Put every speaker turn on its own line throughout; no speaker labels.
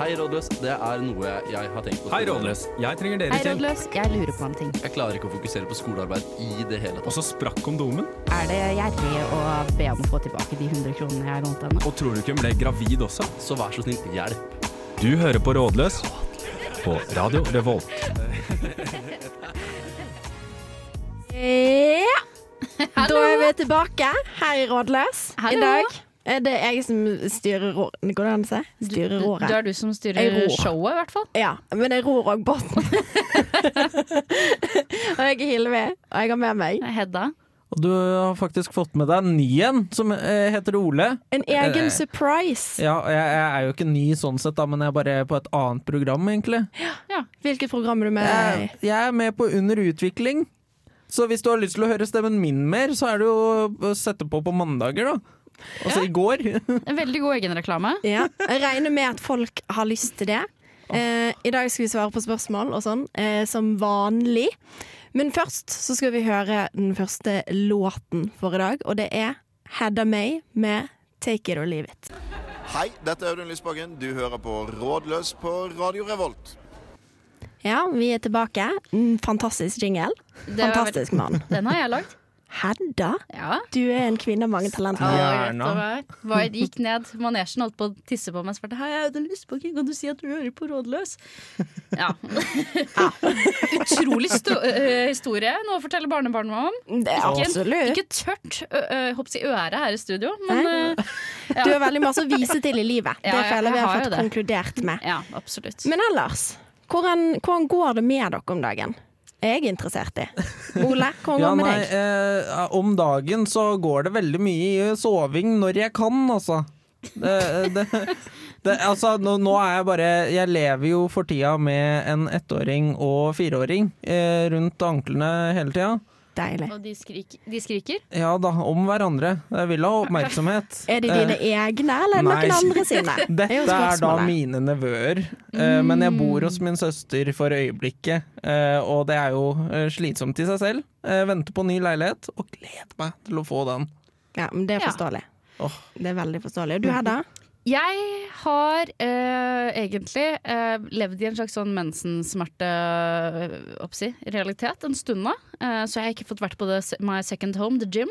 Hei, rådløs. Det er noe jeg har tenkt på.
Hei, Rådløs. Jeg trenger
Hei,
deres hjelp.
rådløs. Jeg lurer på en ting.
Jeg klarer ikke å fokusere på skolearbeid i det hele
Og
tatt.
så sprakk kondomen.
Er det gjerrig å be om å få tilbake de 100 kronene jeg har lånt henne?
Og tror du ikke hun ble gravid også?
Så vær så snill, hjelp.
Du hører på Rådløs på Radio Revolt.
Ja. Da er vi tilbake her i Rådløs
Hallo.
i dag. Er Det er jeg som styrer rå- Går det an å si? Styrer
Det
råret.
er du som
Jeg
styrer
rår.
showet, i hvert fall.
Ja, men jeg ror òg båten. og jeg er Hilvi, og jeg har med meg
Hedda.
Og du har faktisk fått med deg en ny en, som eh, heter Ole.
en
Eh,
egen surprise.
Ja, og jeg, jeg er jo ikke ny sånn sett, da, men jeg er bare på et annet program, egentlig.
Hvilket program er du med deg i?
Jeg, jeg er med på Under utvikling. Så hvis du har lyst til å høre stemmen min mer, så er det jo å sette på på mandager, da. Altså i går.
En veldig god egenreklame.
Ja. Jeg regner med at folk har lyst til det. Eh, I dag skal vi svare på spørsmål og sånn, eh, som vanlig. Men først så skal vi høre den første låten for i dag, og det er Hedda May med 'Take It or Leave It'.
Hei, dette er Audun Lysbakken. Du hører på Rådløs på Radio Revolt.
Ja, vi er tilbake. En fantastisk jingle.
Det var
Fantastisk mann.
veldig- Den har jeg lagd.
Hedda,
Ja.
du er en kvinne av mange talenter.
Gjerne.
Var, gikk ned manesjen, holdt på å tisse på meg og spurte Hei, Audun Lysbakken, kan du si at du hører på Rådløs? Ja. Utrolig sto øh, historie. Nå forteller barnebarnet meg om.
Mm, Det er
Ikke, en,
absolutt.
ikke tørt ø, ø, hoppsi, øre her i studio, men øh,
Du har veldig masse å vise til i livet. Det
Ja, ja,
føler vi
jeg
har
har jo
fått konkludert med.
ja, absolutt.
Men ellers, hvordan, hvordan går det med dere om dagen? Jeg er interessert i. Ole, hvordan går det
Ja,
med
nei,
deg?
eh, om dagen så går det veldig mye i soving når jeg kan, altså. Det, det, det, altså nå, nå er jeg bare Jeg lever jo for tida med en ettåring og fireåring eh, rundt anklene hele tida.
Deilig.
Og de, skrik, de skriker.
Ja da, om hverandre. Jeg vil ha oppmerksomhet.
Er det dine egne, eller er det
eh, Nei.
noen andre sine?
Dette
Det er jo
er da
spørsmålet. Mm.
mine nevøer, eh, men jeg bor hos min søster for øyeblikket. eh, og det er jo eh, slitsomt i seg selv. Eh, venter på ny leilighet, og gleder meg til å få den.
Ja, men det er
Ja.
forståelig.
Åh.
Det er veldig forståelig. Og du, Hedda?
Jeg har eh, egentlig eh, levd i en slags sånn eh, mensensmerte-realitet en stund nå. eh, så jeg har ikke fått vært på det, se- my second home, the gym.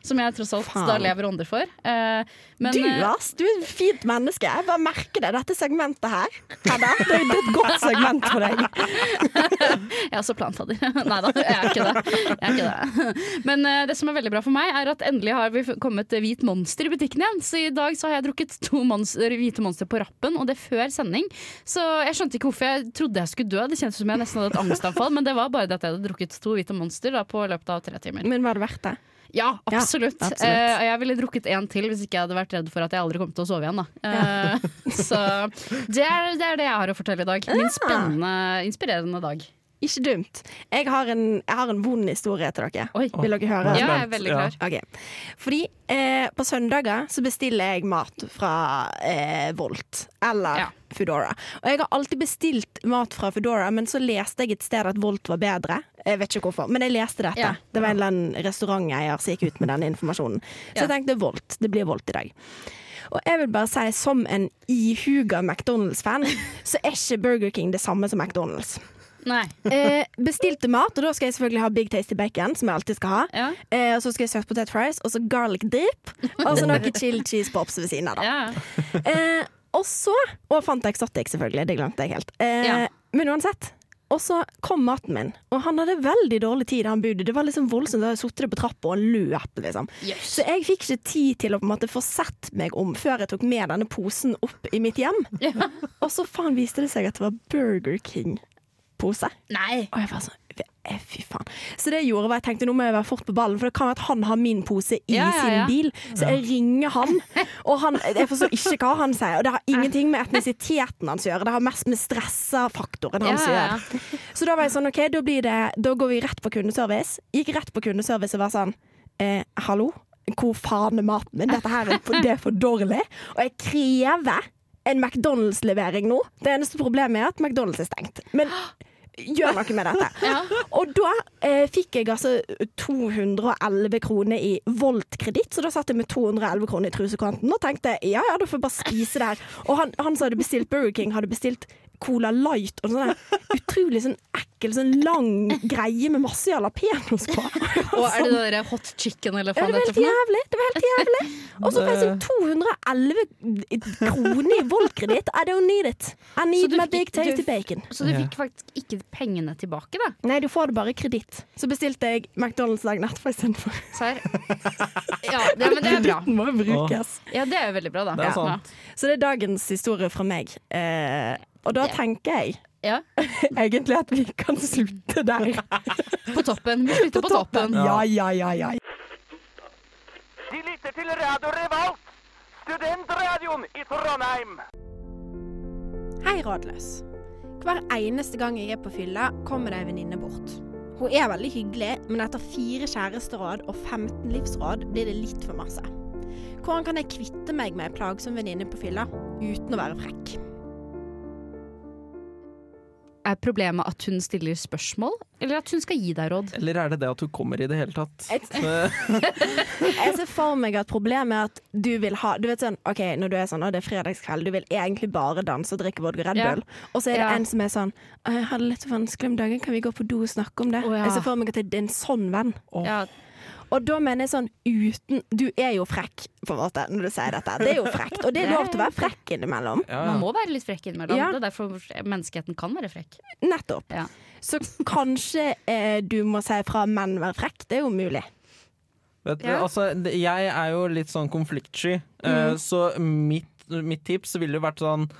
Som jeg tross alt
Faen.
da lever ånder for. Eh, men,
du,
eh,
ass! Du er et fint menneske. Jeg bare merker det. Dette segmentet her. Hedda, det er jo et godt segment for deg.
Jeg er også planfader. Nei da, jeg er ikke det. Jeg er ikke det. Men eh, det som er veldig bra for meg, er at endelig har vi f- kommet eh, hvit monster i butikken igjen. Så i dag så har jeg drukket to monster, hvite monster på rappen, og det før sending. Så jeg skjønte ikke hvorfor jeg trodde jeg skulle dø. Det kjentes som jeg nesten hadde et angstanfall, men det var bare det at jeg hadde drukket to hvite monster da, på løpet av tre timer.
Men var det verdt det?
Ja,
Ja,
absolutt.
absolutt.
Eh, og jeg ville drukket én til hvis ikke jeg hadde vært redd for at jeg aldri kom til å sove igjen. Da. Eh, så det er, det er det jeg har å fortelle i dag. Min spennende, inspirerende dag.
Ikke dumt. Jeg har en, jeg har en vond historie til dere.
Oi.
Vil dere høre?
Ja, jeg er veldig klar.
Ok. Fordi eh, på søndager så bestiller jeg mat fra eh, Volt eller
Ja.
Foodora. Og jeg har alltid bestilt mat fra Foodora, men så leste jeg et sted at Volt var bedre. Jeg vet ikke hvorfor, men jeg leste dette.
Ja.
Det var en eller annen restauranteier som gikk ut med denne informasjonen. Så jeg
Ja.
tenkte Volt. Det blir Volt i dag. Og jeg vil bare si, som en ihuga McDonald's-fan, så er ikke Burger King det samme som McDonald's.
Nei.
Eh, bestilte mat, og da skal jeg selvfølgelig ha Big Tasty Bacon, som jeg alltid skal ha.
Ja.
Eh, og så skal jeg søte potet fries, og så garlic dip, og så noe chili cheese pops ved siden av. da.
Ja.
Eh, og så Og Fanta Exotic, selvfølgelig. Det glemte jeg helt. Eh,
Ja.
Men uansett. Og så kom maten min, og han hadde veldig dårlig tid. Han budet. Det var liksom voldsomt. Jeg sutret på trappa, og han løp, liksom. Så jeg fikk ikke tid til å på en måte få sett meg om før jeg tok med denne posen opp i mitt hjem.
Ja.
Og så faen viste det seg at det var Burger King-pose.
Nei.
Og jeg var sånn eh, Fy faen. Så det jeg gjorde var jeg tenkte nå må jeg være fort på ballen, for det kan være at han har min pose i
Ja, ja, ja.
sin bil. Så jeg ringer han, og han, jeg forstår ikke hva han sier. Og det har ingenting med etnisiteten hans å gjøre, det har mest med stressfaktoren hans å
Ja, ja,
gjøre. Så da var jeg sånn OK, da, blir det, da går vi rett på kundeservice. Gikk rett på kundeservice og var sånn eh, Hallo, hvor faen er maten min? Dette her er for, det er for dårlig. Og jeg krever en McDonald's-levering nå. Det eneste problemet er at McDonald's er stengt. Men gjør noe med dette.
Ja.
Og da eh, fikk jeg altså 211 kroner i voltkreditt, så da satt jeg med 211 kroner i trusekanten og tenkte ja ja, da får jeg bare spise det her. Og han, han som hadde bestilt Burger King, hadde bestilt Cola Light og sånn der utrolig sånn ekkel, sånn lang greie med masse jalapeños på.
Og er det den der hot chicken eller
Sånn. Ja,
faen
det var
dette
helt
for noe?
jævlig. Det var helt jævlig. Og så får jeg sånn 211 kroner i voltkreditt. I don't need it. I
Så
need
du
my
fikk-
big tasty
du-
bacon.
Så du fikk faktisk ikke pengene tilbake, da?
Nei, du får det bare kreditt. Så bestilte jeg McDonald's dagen etterpå istedenfor.
Serr? Ja, det, men det er bra.
Kreditten må jo brukes.
Ja, det er jo veldig bra, da.
Det er
Ja.
sant.
Så det er dagens historie fra meg. Eh, og da tenker jeg
Ja.
egentlig at vi kan slutte der.
På toppen. Vi slutter på toppen.
Ja, ja, ja, ja.
De lytter til Radio Revolt, studentradioen i Trondheim.
Hei, Rådløs. Hver eneste gang jeg er på fylla, kommer det ei venninne bort. Hun er veldig hyggelig, men etter fire kjæresteråd og 15 livsråd blir det litt for masse. Hvordan kan jeg kvitte meg med ei plagsom venninne på fylla uten å være frekk?
Er problemet at hun stiller spørsmål, eller at hun skal gi deg råd?
Eller er det det at du kommer i det hele tatt?
Jeg ser for meg at problemet er at du vil ha Du vet sånn, ok, når du er sånn, og det er fredagskveld, du vil egentlig bare danse og drikke vodka og Red
Ja.
Bull, og så er det
Ja.
en som er sånn «Å, 'Jeg hadde det litt vanskelig om dagen, kan vi gå på do og snakke om det?'
Å, ja.
Jeg ser for meg at det er en sånn venn.
Ja,
Og da mener jeg sånn uten Du er jo frekk, på en måte, når du sier dette. Det er jo frekt. Og det er lov til å være frekk innimellom.
Ja,
man
ja.
må være litt frekk innimellom.
Ja.
Det er derfor menneskeheten kan være frekk.
Nettopp.
Ja.
Så kanskje eh, du må si fra 'menn vær frekk'. Det er jo mulig.
Vet, du,
Ja.
altså, det- jeg er jo litt sånn konfliktsky, eh, så mitt, mitt tips ville jo vært sånn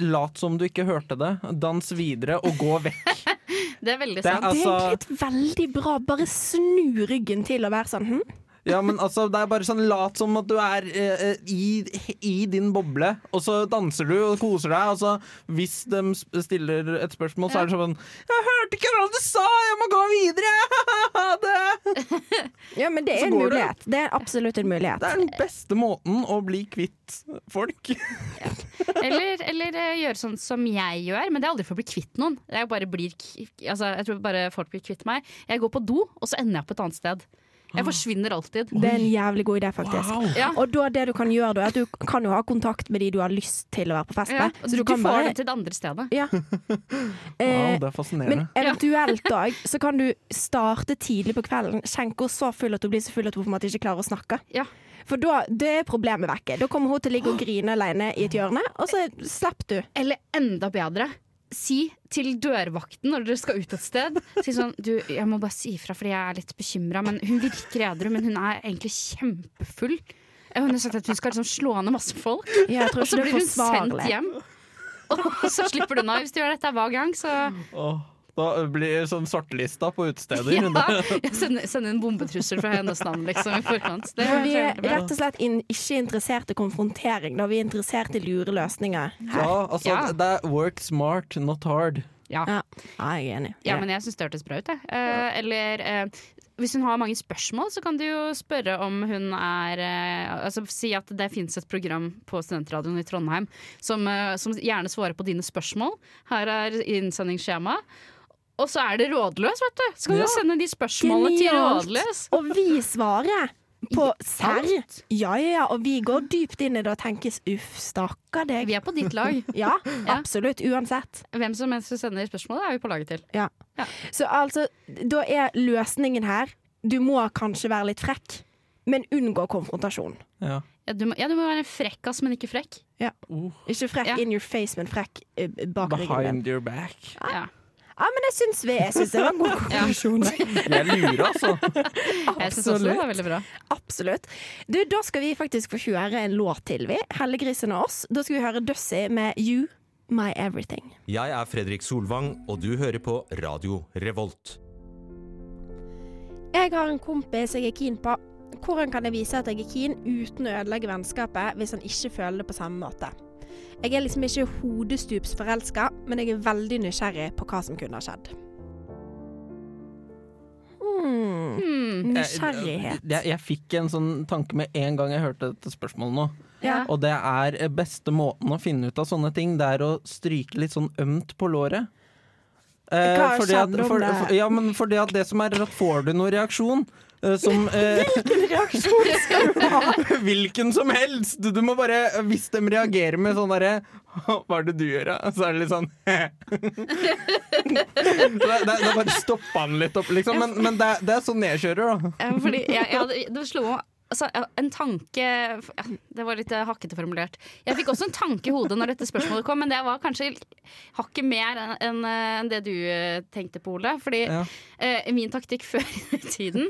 Lat som du ikke hørte det, dans videre og gå vekk.
Det er veldig
Det er
sant.
Det er
altså
egentlig et veldig bra Bare snu ryggen til og være sånn hm?
Ja, men altså, det er bare sånn lat som at du er eh, eh, i, i din boble, og så danser du og koser deg, og så hvis de sp- stiller et spørsmål, så er det sånn Jeg hørte ikke hva du sa, jeg må gå videre! Ha det!
Ja, men det
Så
er en
går det.
mulighet. Det er absolutt en mulighet.
det er den beste måten å bli kvitt folk.
Eller, eller eh, gjøre sånn som jeg gjør, men det er aldri for å bli kvitt noen. Jeg, bare blir, k- altså, jeg tror bare folk blir kvitt meg. Jeg går på do, og så ender jeg på et annet sted. Jeg
Ah.
forsvinner alltid.
Det er en jævlig god idé, faktisk.
Ja.
Og da det du kan gjøre, da, er at du kan jo ha kontakt med de du har lyst til å være på fest
Ja,
med.
og
Så
Altså,
du,
du kan
får
bare
dem til det andre stedet.
ja.
Wow,
Eh,
det er
men
fascinerende.
eventuelt da, så kan du starte tidlig på kvelden, skjenke henne så full at hun blir så full at hun på en måte ikke klarer å snakke.
Ja.
For da det er problemet vekke. Da kommer hun til å ligge og grine alene i et hjørne, og så slipper du.
Eller enda bedre, si til dørvakten når dere skal ut et sted Si sånn, du, jeg må bare si ifra fordi jeg er litt bekymra, men hun virker edru, men hun er egentlig kjempefull. Hun har sagt at hun skal liksom slå ned masse folk,
Ja, jeg tror
og så
ikke det er
blir hun sendt
forsvarlig.
hjem. Og så slipper du unna hvis du gjør dette hver gang. Så
Åh, da blir det sånn svartelista på utesteder.
ja, jeg sender, sender en bombetrussel fra hennes navn, liksom, i forkant. Det
For vi
er
er
veldig bra.
rett og slett in ikke interessert i konfrontering, da vi er interessert i lure løsninger.
Ja, altså,
Ja.
det er work smart, not hard.
Ja.
Ja, ja jeg er enig.
Ja, men jeg syns det hørtes bra ut. Jeg. Eh, eller eh, hvis hun har mange spørsmål, så kan du jo spørre om hun er eh, Altså si at det fins et program på studentradioen i Trondheim som, eh, som gjerne svarer på dine spørsmål. Her er innsendingsskjema. Og så er det rådløs, vet du! Så kan du sende de spørsmålene til
Genialt.
rådløs.
Og vi svarer på serr.
sant.
Ja, ja, ja. Og vi går dypt inn i det og tenkes uff, stakkar deg.
Vi er på ditt lag.
Ja, absolutt. Uansett.
Hvem som helst som sender spørsmål, er vi på laget til.
Ja.
Ja.
Så altså, da er løsningen her Du må kanskje være litt frekk, men unngå konfrontasjon.
Ja.
Ja, du må, ja, du må være en frekkas, men ikke frekk.
Ikke frekk
Ja.
in your face, men frekk eh, bak ryggen. din.
Behind your back.
Ja.
Ja, men jeg syns vi Jeg syns det var en god
Ja.
konklusjon.
Jeg lurer, altså.
Jeg syns også det var veldig bra.
Absolutt. Du, da skal vi faktisk få høre en låt til, vi. Hellegrisen og oss. Da skal vi høre Dussie med You My Everything.
Jeg er Fredrik Solvang, og du hører på Radio Revolt.
Jeg har en kompis jeg er keen på. Hvordan kan jeg vise at jeg er keen uten å ødelegge vennskapet hvis han ikke føler det på samme måte? Jeg er liksom ikke hodestups forelska, men jeg er veldig nysgjerrig på hva som kunne ha skjedd.
Hmm.
Hmm.
Nysgjerrighet.
Jeg, jeg fikk en sånn tanke med en gang jeg hørte dette spørsmålet nå.
eh,
Ja.
Og det er eh, beste måten å finne ut av sånne ting, det er å stryke litt sånn ømt på låret. Eh,
Hva har
fordi at,
skjedd om
for,
det?
for, ja, men fordi at det som er at får du noen reaksjon eh, som eh, Hvilken reaksjon skal du ha? Hvilken som helst! Du, du må bare, hvis de reagerer med sånn derre Hva er det du gjør, da? Så er det litt sånn Da da- da bare stopper han litt opp, liksom. Men, men det, er- det er sånn jeg kjører, da.
Eh, Fordi jeg, jeg hadde, det slo meg altså, eh, En tanke ja, Det var litt eh, hakkete formulert. Jeg fikk også en tanke i hodet når dette spørsmålet kom, men det var kanskje hakket mer enn enn, eh, enn det du eh, tenkte på, Ole. Fordi
Ja.
eh, min taktikk før i tiden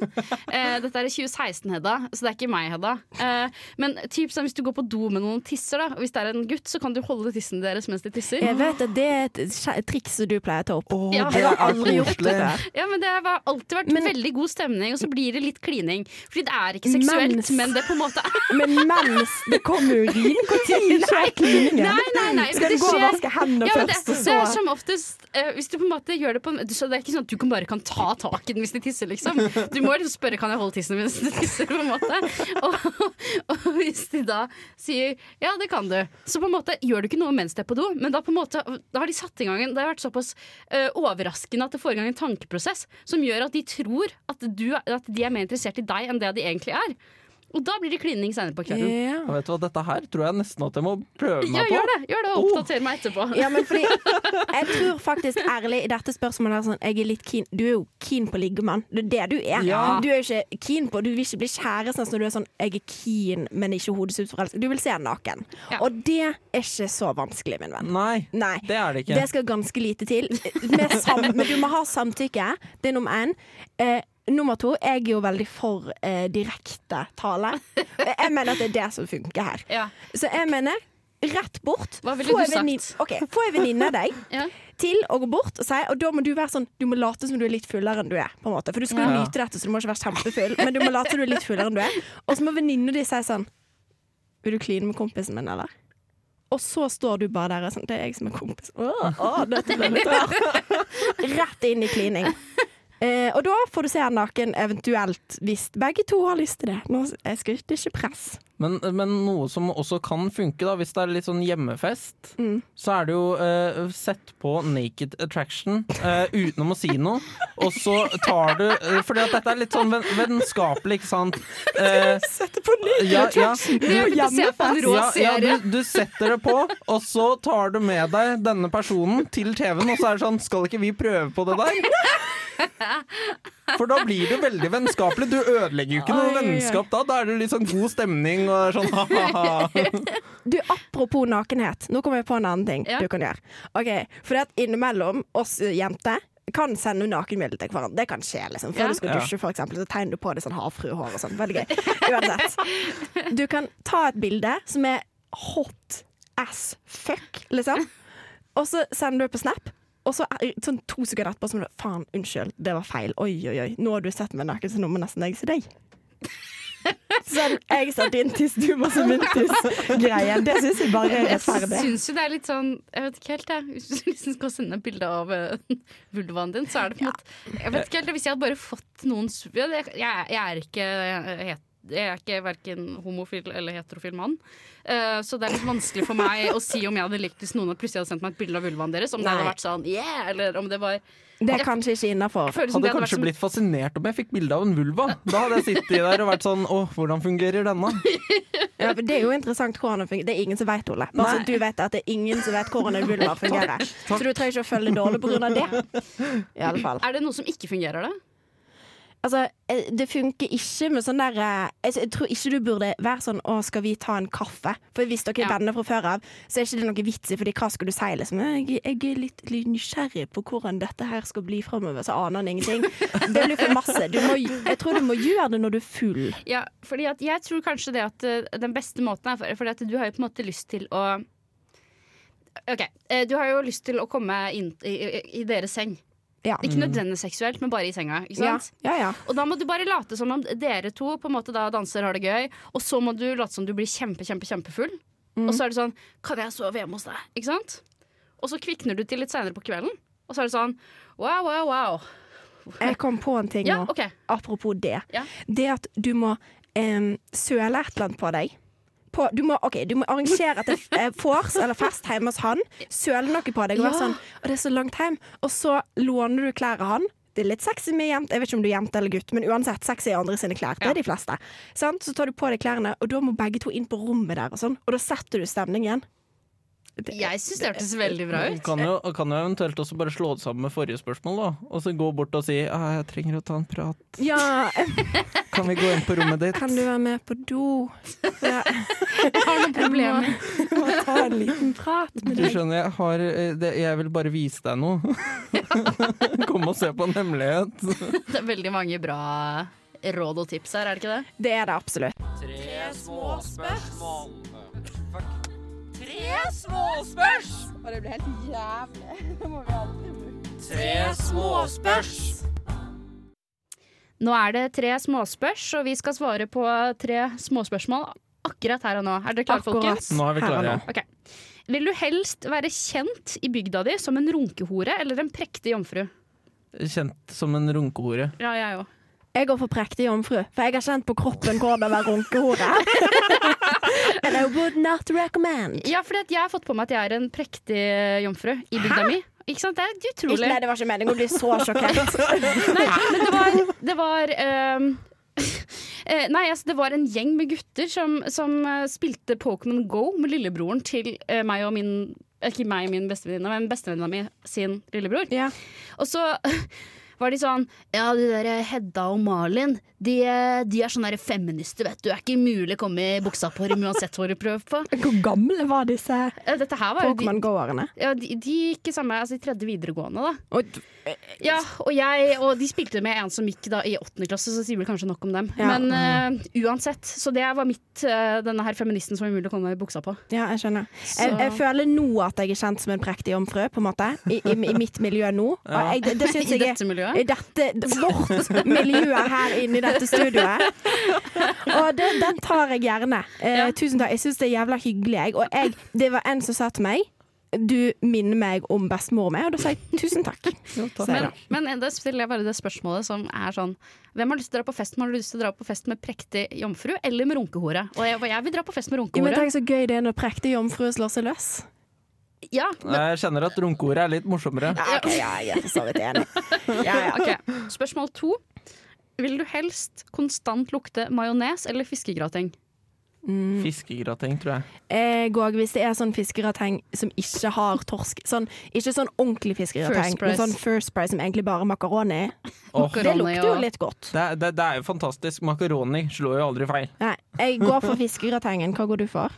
eh, Dette er i 2016, Hedda, så det er ikke meg, Hedda. Eh, men typ sånn, hvis du går på do med noen og tisser, da, og hvis det er en gutt, så kan du holde tissen deres mens de tisser.
Jeg vet at det er et skje- triks som du pleier å ta opp.
Å,
Ja.
det
Jeg har
er
aldri gjort det
koselig.
før.
Ja, men Det har alltid vært veldig god stemning, og så blir det litt klining. Fordi det er ikke seksuelt,
Mens-
men det på en måte er
Men mens det kommer urin, når skjer kliningen?
Nei, nei, nei,
Skal
det
du gå og
skjer-
vaske hendene
ja, men det,
først, og
det
så
er som oftest eh, Hvis du på en måte gjør det på en så Det er ikke sånn at du kan bare kan ta tak i den hvis de tisser, liksom. Du må liksom spørre kan jeg holde tissen mens de tisser, på en måte. Og, og hvis de da sier ja, det kan du, så på en måte gjør du ikke noe mens de er på do, men da på en måte Da har de satt i gang en Det har vært såpass eh, overraskende at det foregår en tankeprosess som gjør at de tror at, du, er- at de er mer interessert i deg enn det de egentlig er. Og da blir det klining seinere på kvelden.
Ja.
Ja, Vet du hva, dette her tror jeg nesten at jeg må prøve
Ja,
meg
gjør
på.
det, gjør det og oppdater meg etterpå.
Ja, men fordi Jeg tror faktisk ærlig i dette spørsmålet er sånn, Jeg er litt keen Du er jo keen på liggemann. Det er det du er.
Ja.
Du er jo ikke keen på Du vil ikke bli kjæresten hans når du er sånn Jeg er keen, men ikke hodesutforelsket. Du vil se han naken.
Ja.
Og det er ikke så vanskelig, min venn.
Nei,
Nei.
det er det ikke.
Det skal ganske lite til. Med sam men du må ha samtykke. Det er nummer én. Eh, nummer to, jeg er jo veldig for eh, direkte tale. Jeg mener at det er det som funker her.
Ja.
Så jeg mener rett bort.
Hva ville
Få
du
en vennin-
sagt?
Ok, Få en venninne av deg
Ja.
til å gå bort og si Og da må du være sånn Du må late som du er litt fullere enn du er. På en måte. For du skal jo
Ja.
nyte dette, så du må ikke være kjempefull, men du må late som du er litt fullere enn du er. Og så må venninnen din si sånn Vil du kline med kompisen min, eller? Og så står du bare der og sånn Det er jeg som er kompis. Åh, åh, dette ble litt rart. Rett inn i klining. Eh, og da får du se han naken, eventuelt, hvis begge to har lyst til det. Nå, jeg skal ikke ikke press.
Men, men noe som også kan funke, da, hvis det er litt sånn hjemmefest, så er det jo eh, sett på Naked Attraction eh, utenom å si noe, og så tar du eh, Fordi at dette er litt sånn ven vennskapelig, ikke sant? Eh,
Sette på ny!
ja, ja,
Vi har begynt å se på en rå
ja, ja
serie.
du, du setter det på, og så tar du med deg denne personen til TV-en, og så er det sånn Skal ikke vi prøve på det der? For da blir det veldig vennskapelig. Du ødelegger jo ikke
Oi,
noe
oi, oi.
vennskap da. Da er det litt sånn god stemning og sånn ha-ha-ha.
Du, Apropos nakenhet, nå kommer jeg på en annen ting
Ja.
du kan gjøre. Ok, For at innimellom oss eh, jenter kan sende nakenbilder til hverandre. Det kan skje. liksom Før
Ja.
du skal
Ja.
dusje, for eksempel, så tegner du på deg sånn havfruehår og sånn. Veldig gøy. Uansett. Du kan ta et bilde som er hot as fuck, liksom. Og så sender du det på Snap. Og så er- sånn to sekunder etterpå sånn Faen, unnskyld, det var feil. Oi, oi, oi. Nå har du sett meg naken, så nå må nesten jeg se deg. Sånn, jeg sa din tiss, du må se min tiss-greie. Det syns jeg bare er
Jeg
rettferdig.
syns jo det er litt sånn Jeg vet ikke helt, jeg. Hvis du liksom skal sende et bilde av eh, vulvaen din, så er det på en måte Jeg vet ikke helt, Hvis jeg hadde bare fått noen s- ja, det- Jeg, jeg er ikke het, jeg er ikke verken homofil eller heterofil mann, Eh, så det er litt vanskelig for meg å si om jeg hadde likt hvis noen hadde plutselig hadde sendt meg et bilde av vulvaen deres. Om det hadde
Nei.
vært sånn yeah, eller om det var
Det er kanskje ikke innafor.
føles
Hadde
som Liksom, det hadde vært
kanskje
som
blitt fascinert om jeg fikk bilde av en vulva. Da hadde jeg sittet der og vært sånn Å, hvordan fungerer denne?
Ja, for det er jo interessant hvordan det fungerer. Det er ingen som vet, Ole. Bare så du vet at det er ingen som vet hvordan en vulva fungerer. Så du trenger ikke å følge dårlig på grunn av det. I alle fall.
Er det noe som ikke fungerer, da?
Altså, eh, det funker ikke med sånn der eh, altså, Jeg tror ikke du burde være sånn 'Å, skal vi ta en kaffe?' For hvis dere er
Ja.
venner fra før av, så er ikke det noe vits i, Fordi hva skal du si? Liksom, «Eh, jeg, 'Jeg er litt, litt nysgjerrig på hvordan dette her skal bli framover', så aner han ingenting. Det blir for masse. Du må, jeg tror du må gjøre det når du er full.
Ja, fordi at jeg tror kanskje det at eh, den beste måten er for, Fordi at du har jo på en måte lyst til å Ok, eh, du har jo lyst til å komme inn i, i, i deres seng.
Ja.
Ikke nødvendigvis seksuelt, men bare i senga. Ikke
Ja,
sant?
ja, ja.
Og da må du bare late som om dere to på en måte da danser og har det gøy, og så må du late som du blir kjempe, kjempe, kjempefull. Og så er det sånn Kan jeg sove hjemme hos deg? Ikke sant? Og så kvikner du til litt seinere på kvelden, og så er det sånn Wow, wow, wow.
Jeg kom på en ting
Ja,
nå.
OK.
Apropos det.
Ja.
Det at du må em, søle et eller annet på deg. på Du må, ok, du må arrangere at det er vors eller fest hjemme hos han. Søle noe på deg og være
Ja.
sånn 'Å, det er så langt hjem.' Og så låner du klær av han. Det er litt sexy med jente, jeg vet ikke om du er jente eller gutt, men uansett, sexy er andre sine klær. Det
Ja.
er de fleste. Sant? Så tar du på deg klærne, og da må begge to inn på rommet der, og sånn. Og da setter du stemningen. Det-
Jeg syns det hørtes veldig bra ut.
Kan jo, kan jo eventuelt også bare slå det sammen med forrige spørsmål, da. Og så gå bort og si «Ah, 'Jeg trenger å ta en prat.
Ja,
Kan vi gå inn på rommet ditt?'
kan du være med på do? Ja,
Jeg har noen problemer.
jeg må ta en liten prat med
Du
deg.
skjønner, jeg, har, eh, det, jeg vil bare vise deg noe. Kom og se på en hemmelighet.
Det er veldig mange bra råd og tips her, er det ikke det?
Det er det absolutt.
Nå er det tre småspørs, og vi skal svare på tre småspørsmål akkurat her og nå. Er dere klare,
Akkurat.
folkens?
Nå er vi
Her og
klare.
Ok. Vil du helst være kjent i bygda di som en runkehore eller en prektig jomfru?
Kjent som en runkehore.
Ja, jeg òg.
Jeg går for prektig jomfru, for jeg har kjent på kroppen hvordan det var runkehore. And I would not recommend.
Ja, fordi at jeg har fått på meg at jeg er en prektig jomfru i bygda mi. Ikke sant? Det er
Ikke,
utrolig.
nei, det var ikke meningen å bli så sjokkert.
Nei, men det var, det var ehm, eh, Nei, altså, det var en gjeng med gutter som, som eh, spilte Pokémon Go med lillebroren til eh, meg og min eh, Ikke meg og min bestevenninne, men bestevenninna mi sin lillebror.
Ja.
Og så var de sånn Ja, de der Hedda og Malin, de, eh, de er sånne der feminister, vet du. Det er ikke mulig å komme i buksa på dem uansett hva du prøver på.
Hvor gamle var disse
Eh, Dette her var jo de,
Pokémon Go-erne?
ja, de, de gikk i samme, altså i tredje videregående, da.
Og- eh,
Ja, og, jeg, og de spilte med en som gikk da i åttende klasse, så sier vel kanskje nok om dem.
Ja.
Men eh, uansett. Så det var mitt, eh, denne her feministen som var umulig å komme i buksa på.
Ja, jeg skjønner. Jeg, jeg føler nå at jeg er kjent som en prektig jomfru, på en måte. I, i, i mitt miljø nå. Og jeg, det, det syns
I
jeg er
dette miljøet.
i dette, vårt miljø her inne i dette studioet. Og det, den tar jeg gjerne. Eh,
Ja.
Tusen takk. Jeg syns det er jævla hyggelig. Jeg. Og jeg, det var en som sa til meg du minner meg om bestemor mi, og da sa jeg tusen takk. Så jeg
Men,
da.
men det stiller jeg bare det spørsmålet som er sånn Hvem har lyst til å dra på fest med? Har du lyst til å dra på fest med prektig jomfru eller med runkehore? Og jeg, jeg vil dra på fest med
Ja, men
runkehore.
tenk så gøy det er når prektige jomfruer slår seg løs.
Ja, men,
Jeg kjenner at runkehore er litt morsommere.
Ja, ok, ja, jeg er for så vidt enig. Ja, ja.
ok. Spørsmål to. Vil du helst konstant lukte majones eller fiskegrateng?
Fiskegrateng, tror jeg.
Jeg går hvis det er sånn fiskerateng som ikke har torsk. Sånn, ikke sånn ordentlig fiskerateng,
First
men
price.
sånn First Price som egentlig bare makaroni.
Åh,
Det
Makaroni
lukter jo
og-
litt godt.
det, er- det, det er jo fantastisk. Makaroni slår jo aldri feil.
Nei, jeg går for fiskeratengen. Hva går du for?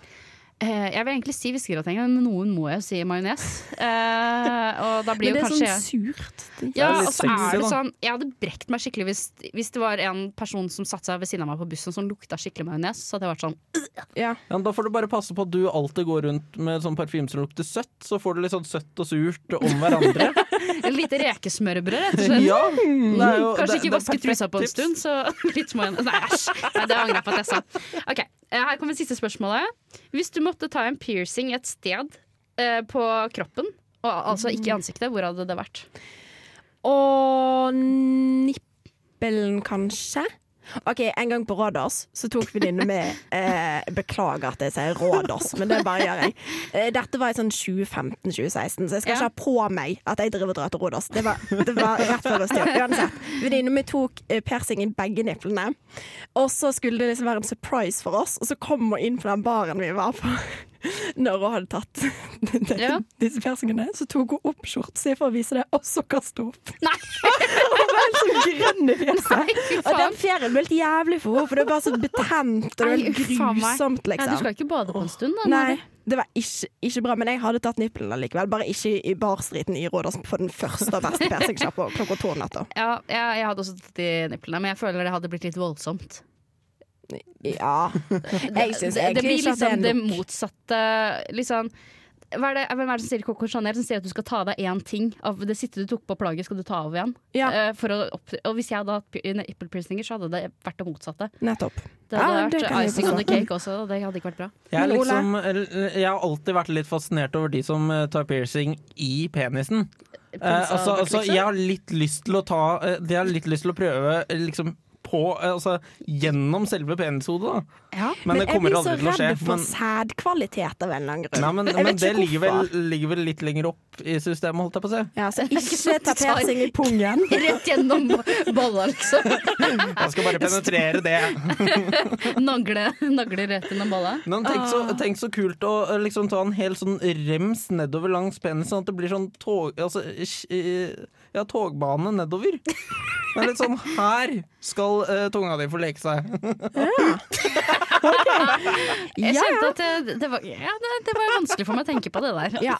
Eh, jeg vil egentlig si fiskegrateng, men noen må jo si majones. Eh, og da blir
Men det
jo
er
kanskje
sånn surt.
ja,
Det er litt
og så er det
sexy, da.
sånn, Jeg hadde brekt meg skikkelig hvis, hvis det var en person som satte seg ved siden av meg på bussen som lukta skikkelig majones. Så hadde jeg vært sånn
Ja.
Ja, men da får du bare passe på at du alltid går rundt med sånn parfyme som lukter søtt. Så får du litt sånn søtt og surt om hverandre.
Et lite rekesmørbrød, rett og slett.
ja, det
Mm.
er jo,
Kanskje
det-
ikke
det er
vaske
perfekt
trusa på en
tips.
stund, så litt majones. Nei, æsj. Nei, Det angrer jeg på at jeg sa. Ok, eh, Her kommer siste spørsmålet. Hvis du måtte ta en piercing et sted eh, på kroppen, og, altså ikke i ansiktet, hvor hadde det vært?
Og nippelen, kanskje? OK, en gang på Rådås så tok venninne med eh, Beklager at jeg sier Rådås, men det bare gjør jeg. Eh, dette var i sånn 2015-2016, så jeg skal
Ja.
ikke ha på meg at jeg driver og drar til Rådås. Det var, det var rett før oss til. Uansett. Venninne mi tok eh, piercing i begge nipplene, og så skulle det liksom være en surprise for oss, og så kom hun inn på den baren vi var på. Når hun hadde tatt
Ja.
disse piercingene, så tok hun opp skjorta si for å vise det, og så kastet hun opp.
Nei,
Det var helt sånn grønn i fjeset.
fy
Og
faen!
den fjæren ble helt jævlig for henne, for det var så betent og det var
Nei,
helt
uff, faen meg.
grusomt,
Ja, du
liksom.
skal ikke bade på en stund, da?
Nei, det var ikke, ikke bra, men jeg hadde tatt nippelen likevel. Bare ikke i barstriten i Rådås på den første og beste piercingsjappa klokka to om natta.
Ja, jeg, jeg hadde også tatt de nipplene, men jeg føler det hadde blitt litt voldsomt.
Ja. Jeg
Det,
syns
det
egentlig
blir
ikke at det
liksom
er
det
nok.
motsatte. Liksom, hva er det, hvem er det som sier i Coco Chanel som sier at du skal ta av deg én ting av det siste du tok på plagget, skal du ta av igjen?
Ja.
Eh, for å opp, og hvis jeg hadde hatt pi- nippelpiercinger, så hadde det vært det motsatte.
Nettopp.
Det hadde
Ja, det kan
vært
jeg
icing on the
forstå.
cake også, og det hadde ikke vært bra.
Jeg, er
Men Ole?
liksom, jeg har alltid vært litt fascinert over de som eh, tar piercing i penisen. Eh,
Pensa-
altså, altså,
liksom?
jeg har litt lyst til å ta eh, Jeg har litt lyst til å prøve eh, liksom, på, eh, altså, gjennom selve penishodet. da.
Ja.
Men, det kommer aldri til å skje.
Jeg blir så redd for sædkvalitet av en eller annen grunn.
Nei, men,
Jeg vet
men det
ikke
ligger vel,
hvorfor.
ligger vel litt lenger opp i systemet, holdt jeg på å si.
Ja, så
sånn
ikke
at du
ta
tar-
piercing i pungen.
Rett gjennom bolla, liksom.
Jeg skal bare penetrere det.
Nagle, nagler rett gjennom bolla.
Men tenk så, tenk så kult å eh, liksom ta en hel sånn rems nedover langs penisen, sånn at det blir sånn tog... Altså, sj- eh, ja, togbane nedover. Det er litt sånn her skal eh, tunga di få leke seg.
Jeg
Ja,
kjente at det, det, var, ja, det, det var vanskelig for meg å tenke på det der.
Ja.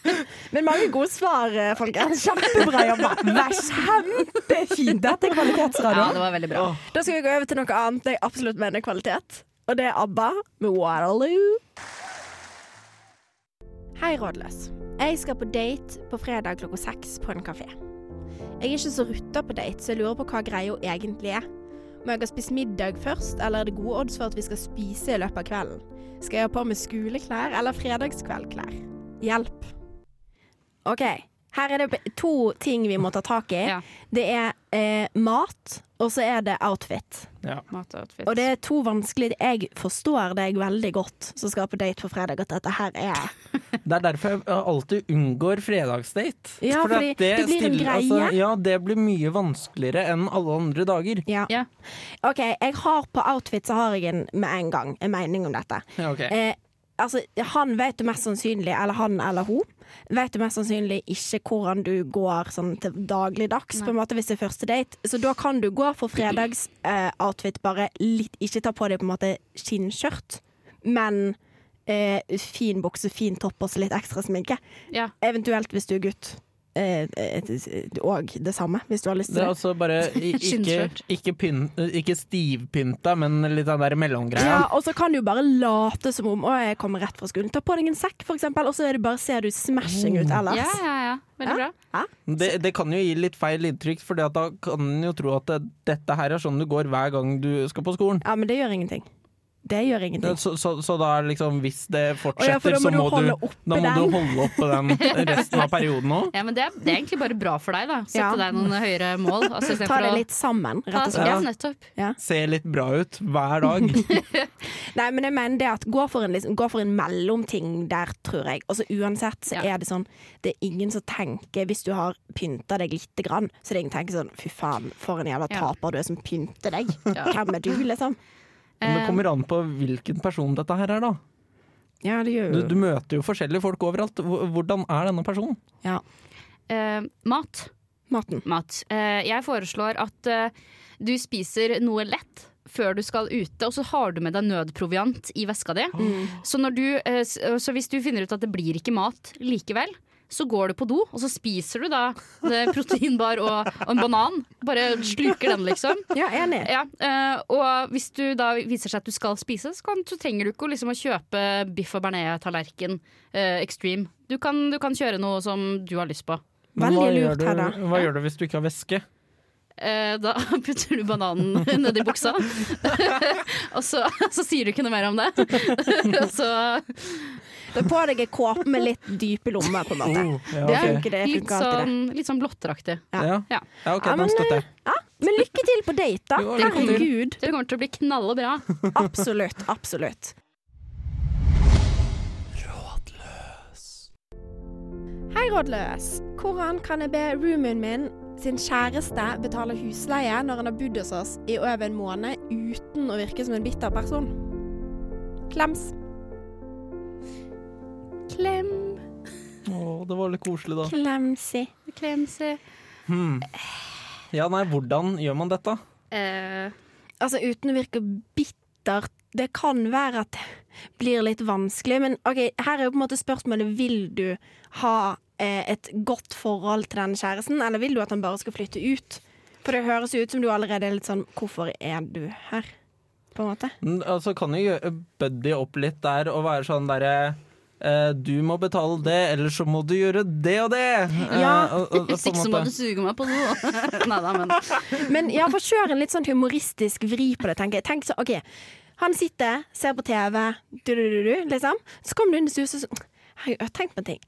Men mange gode svar, eh, folkens. Kjempebra jobba. Vær kjempefint. Dette er
Ja,
kvalitetsradio.
det var veldig bra.
Da skal vi gå over til noe annet jeg absolutt mener er kvalitet. Og det er ABBA med Waterloo.
Hei, rådløs. Jeg skal på date på fredag klokka seks på en kafé. Jeg er ikke så rutta på date, så jeg lurer på hva greia egentlig er. Må jeg ha spist middag først, eller er det gode odds for at vi skal spise i løpet av kvelden? Skal jeg ha på meg skoleklær eller fredagskveldklær? Hjelp.
Ok, Her er det to ting vi må ta tak i.
Ja.
Det er eh, mat, og så er det outfit.
Matoutfit.
Og det er to vanskelige Jeg forstår deg veldig godt som skal på date på fredag, at dette her er
Det er derfor jeg alltid unngår fredagsdate.
Ja,
Fordi
fordi
at
det blir en
stiller- altså,
greie.
ja, det blir mye vanskeligere enn alle andre dager.
Ja.
Ja.
OK, jeg har på outfit så har jeg en med en gang en mening om dette.
Ja, ok.
Eh, altså, han vet jo mest sannsynlig, eller han eller hun, vet jo mest sannsynlig ikke hvordan du går sånn til dagligdags, på en måte, hvis det er første date. Så da kan du gå for fredags eh, outfit, bare litt Ikke ta på deg på en måte skinnskjørt, men eh, fin bukse, fin topp og så litt ekstra sminke.
Ja.
Eventuelt hvis du er gutt. Eh, eh, og det samme, hvis du har lyst
Det
til
er
det.
altså bare i- ikke,
Skinnskjørt.
ikke, pyn, eh, ikke stivpynta, men litt den der mellomgreia.
Ja, og så kan du bare late som om Å, jeg kommer rett fra skolen. Ta på deg en sekk, for eksempel, og så er det bare, ser du smashing ut ellers.
ja, ja, ja. Veldig bra.
Det, det kan jo gi litt feil inntrykk, for da kan en jo tro at det, dette her er sånn du går hver gang du skal på skolen.
Ja, men det gjør ingenting. Det gjør ingenting.
Så, så, så da er liksom, hvis det fortsetter,
for da må
så
du
må
holde
du,
oppe
da må du
den.
holde oppe den resten av perioden òg.
Ja, men det, er, det er egentlig bare bra for deg, da. Sette
Ja.
deg noen høyere mål. Altså, i stedet
Ta
for
det
å-
litt sammen,
Ta-
rett og slett.
Ja, nettopp.
Ser litt bra ut hver dag.
Nei, men jeg mener det at gå for en, liksom, gå for en mellomting der, tror jeg. Og så uansett så
Ja.
er det sånn Det er ingen som tenker, hvis du har pynta deg lite grann, så er det ingen som tenker sånn Fy faen, for en jævla
Ja.
taper du er som pynter deg.
Ja.
Hvem er du, liksom?
Men det kommer an på hvilken person dette her er, da.
Ja, det gjør
Du, du møter jo forskjellige folk overalt. Hvor- Hvordan er denne personen?
Eh, mat.
Maten.
Mat. Eh, jeg foreslår at eh, du spiser noe lett før du skal ute, og så har du med deg nødproviant i veska di.
Mm.
Så, når du, eh, s- så hvis du finner ut at det blir ikke mat likevel, så går du på do, og så spiser du da eh, proteinbar og, og en banan. Bare sluker den, liksom.
Ja, enig.
Ja, eh, og hvis du da viser seg at du skal spise, så, kan, så trenger du ikke å, liksom, å kjøpe biff og bearnés-tallerken eh, extreme. Du kan, du kan kjøre noe som du har lyst på.
Veldig
Men hva gjør
lurt,
du-
Hedda.
Hva gjør du hvis du ikke har væske?
Eh, da putter du bananen nedi buksa, og så, så sier du ikke noe mer om det. Og så,
Ta på deg en kåpe med litt dype lommer, på en måte.
ja,
Det
ok.
funker, det
litt,
funker alltid.
sånn, litt sånn blotteraktig.
Ja.
Ja.
ja, OK,
Ja, men,
den støtter jeg.
det. Ja,
sånn
men lykke til på date, da.
Jo, lykke til.
Herregud.
Det kommer til å bli knallbra.
Absolutt. Absolutt.
Hei, rådløs. Hvordan kan jeg be roomien min sin kjæreste betale husleie når han har bodd hos oss i over en måned uten å virke som en bitter person? Klems.
Klem,
eh,
Å, det var litt koselig, da.
Klemsi.
klemse.
Hmm. Ja, nei, hvordan gjør man dette?
Eh,
Altså uten å virke bitter Det kan være at det blir litt vanskelig Men ok, her er jo på en måte spørsmålet Vil du ha eh, et godt forhold til den kjæresten Eller vil du at han bare skal flytte ut? For det høres jo ut som du allerede er litt sånn Hvorfor er du her? På en måte
N- Altså, kan jo gjø- buddy opp litt der og være sånn derre eh, Du må betale det, ellers så må du gjøre det og det! Eh,
Ja,
og- og- og
Hvis
på en
ikke så må
måte.
du suge meg på do. Nei da, men
Men ja, for kjør en litt sånn humoristisk vri på det, tenker jeg. Tenk så, ok, han sitter, ser på TV, du, du, du, du, liksom. Så kommer du inn i stuset og sånn Herregud, jeg har tenkt på en ting.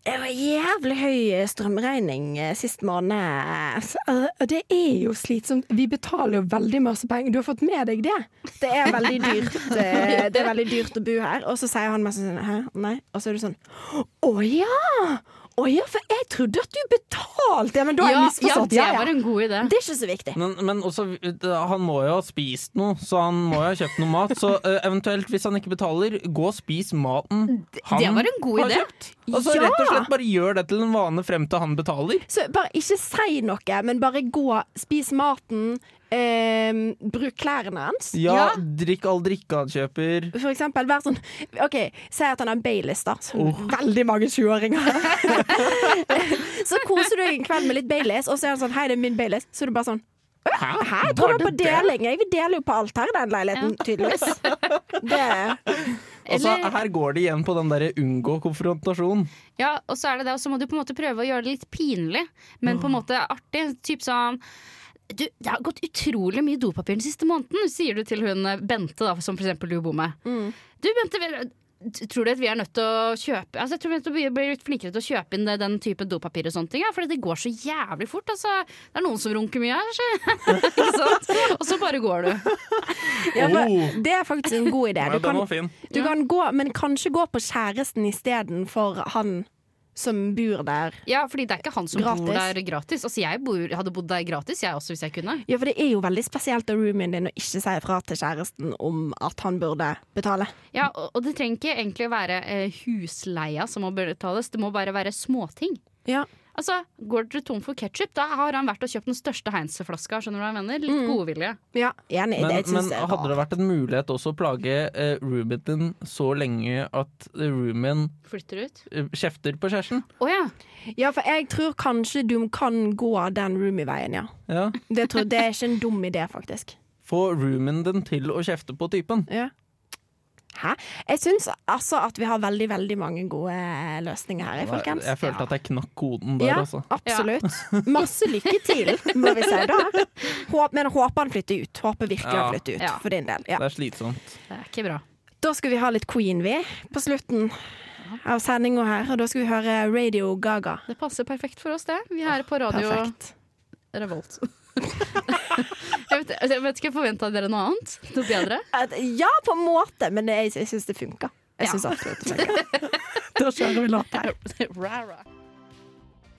Det var jævlig høy strømregning eh, sist måned. Så, eh, Det er jo slitsomt. Vi betaler jo veldig masse penger. Du har fått med deg det? Det er veldig dyrt, eh, det er veldig dyrt å bo her. Og så sier han mest sånn Hæ, nei? Og så er du sånn Å ja! Å ja, for jeg trodde at du betalte! Ja, men da har
Ja,
jeg
ja,
misforstått.
det var en god idé.
Det er ikke så viktig.
Men, men også, han må jo ha spist noe, så han må jo ha kjøpt noe mat. Så eh, eventuelt, hvis han ikke betaler, gå og spis maten han
det var en god idé.
kjøpt. Og så
Ja!
rett og slett bare gjør det til en vane frem til han betaler.
Så bare ikke si noe, men bare gå, spis maten, eh, bruk klærne hans.
Ja, drikk all drikke han kjøper.
For eksempel, vær sånn Ok, Si at han har Baileys, da. Sånn, Veldig mange 20-åringer. så koser du deg en kveld med litt Baileys, og så er han sånn Hei, det er min Baileys. Så er du bare sånn Hæ? Hæ? Jeg tror det var på deling. Jeg vil dele jo på alt her i den leiligheten, tydeligvis. Det
Altså,
Eller-
her går det igjen på den derre unngå konfrontasjon.
Ja, og så er det det, og så må du på en måte prøve å gjøre det litt pinlig, men på en måte artig. Typ sånn du, Det har gått utrolig mye dopapir den siste måneden, sier du til hun eh, Bente, da, som for eksempel du bor med. Du, Bente, vi- tror du at vi er nødt til å kjøpe Altså, jeg tror vi er nødt til å bli- bli litt flinkere til å kjøpe inn det- den type dopapir og sånne ting, ja, for det går så jævlig fort. Altså, det er noen som runker mye her, så. ikke sant? Og så bare går du.
ja,
Oh.
for, Det er faktisk en god idé.
Ja,
Du
den
kan,
var fin.
du kan gå, men kanskje gå på kjæresten istedenfor han som bor der.
Ja, fordi det er ikke han som bor
Gratis.
der gratis. Altså, jeg bor, hadde bodd der gratis, jeg også, hvis jeg kunne.
Ja, for det er jo veldig spesielt av roomien din å ikke si fra til kjæresten om at han burde betale.
Ja, og, og det trenger ikke egentlig å være eh, husleia som må betales, det må bare være småting.
Ja.
Altså, Går dere tom for ketsjup, da har han vært og kjøpt den største Heinz-flaska. Skjønner du hva jeg mener? Litt
Mm.
godvilje.
Ja, enig.
Men,
det
men
synes jeg er
hadde det vært en mulighet også å plage eh, roomien din så lenge at eh, roomien
Flytter ut.
eh, kjefter på kjæresten?
Å ja.
Ja, for jeg tror kanskje du kan gå den roomie-veien, ja.
Ja.
Det, tror, det er ikke en dum idé, faktisk.
Få roomien din til å kjefte på typen.
Ja. Hæ? Jeg syns altså at vi har veldig, veldig mange gode eh, løsninger her, jeg, folkens.
Jeg følte at jeg knakk koden der,
ja,
altså.
absolutt. Masse lykke til, må vi si da. Håp, men håper han flytter ut. Håper virkelig
Ja.
han flytter ut,
Ja.
for din del. Ja.
Det er slitsomt.
Det er ikke bra.
Da skal vi ha litt Queen, vi, på slutten av sendinga her. Og da skal vi høre Radio Gaga.
Det passer perfekt for oss, det. Vi er på radio
Perfekt.
Revolt. jeg, vet, altså, jeg vet ikke, forventa dere noe annet? Noe bedre?
At- Ja, på en måte, men jeg, jeg syns det funka. Jeg
Ja.
syns absolutt det funka. da kjører vi låt her.
Rara.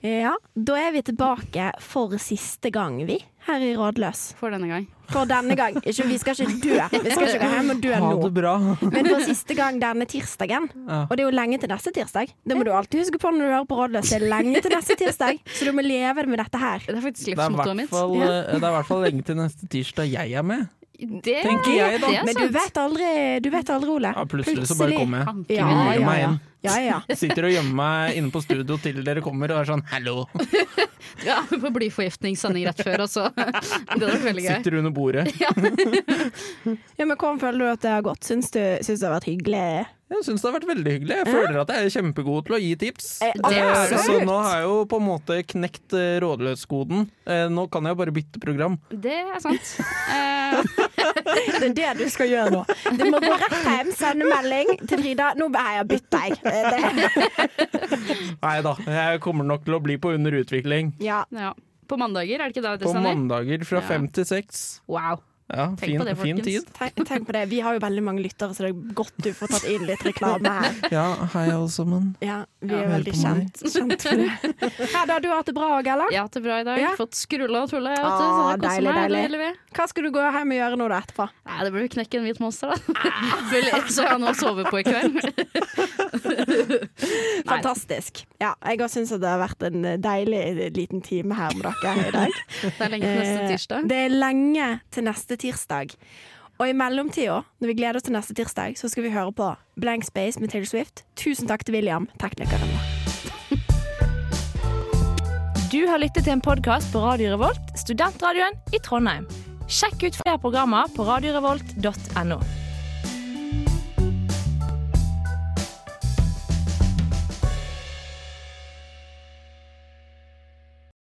Ja, da er vi tilbake for siste gang, vi, her i Rådløs.
For denne gang.
For denne gang. Ikke, vi skal ikke dø. Vi skal ikke gå hjem og dø
Ha
nå.
det bra.
Men for siste gang denne tirsdagen.
Ja.
Og det er jo lenge til neste tirsdag. Det må du alltid huske på når du hører på Rådløs. Det er lenge til neste tirsdag, så du må leve med dette her.
Det er faktisk
Det er i
livsmottoet
hvert
mitt.
fall, eh, det er i hvert fall lenge til neste tirsdag jeg er med.
Det,
tenker jeg, da.
det er
Men du
sant.
vet aldri, du vet aldri Ole.
Ja, plutselig så bare kommer jeg.
Tanken
Ja,
min.
ja,
meg
ja.
igjen.
ja, ja.
Sitter og gjemmer meg inne på studio til dere kommer og er sånn 'hallo'.
Ja, på blyforgiftningssending rett før, altså. Det var veldig gøy.
Sitter under bordet.
ja men hvordan føler du at det har gått? Syns du syns det har vært hyggelig?
Jeg syns det har vært veldig hyggelig. Jeg føler at jeg er kjempegod til å gi tips.
Eh,
Eh, Så
absolutt.
nå har jeg jo på en måte knekt eh, rådløskoden. Eh, Nå kan jeg jo bare bytte program.
Det er sant. Eh,
Det er det du skal gjøre nå. Du må gå rett hjem, sende melding til Frida. Nå har jeg bytta, jeg. Det,
Nei da, jeg kommer nok til å bli på under utvikling.
ja.
ja. På mandager, er det ikke da det
På
sender?
mandager fra
Ja.
fem til seks.
Wow.
Ja,
Tenk
fin,
på det,
fin
folkens.
tid.
Tenk, tenk på det. Vi har jo veldig mange lyttere, så det er godt du får tatt inn litt reklame her.
Ja, hei alle sammen.
Ja, Vi er
hør
veldig
på meg.
kjent, kjent for det. Hedda, du har hatt det bra òg, eller?
Jeg har hatt det bra i dag.
Ja.
Fått skrulla og tulla. Jeg, vet du, så
Ah,
det koser
deilig,
meg.
deilig.
Deilig.
Hva skal du gå hjem og gjøre nå da etterpå?
Nei, det blir jo knekke en hvit monster, da.
Ah,
Vel, Så jeg har noe å sove på i kveld.
Fantastisk. Ja, jeg òg syns det har vært en deilig liten time her med dere i dag.
Det er lenge til neste
Eh,
tirsdag.
Det er lenge til neste tirsdag. Og i mellomtida, når vi gleder oss til neste tirsdag, så skal vi høre på Blank Space med Taylor Swift. Tusen takk til William, teknikeren vår.
Du har lyttet til en podkast på Radio Revolt, studentradioen i Trondheim. Sjekk ut flere programmer på radiorevolt.no.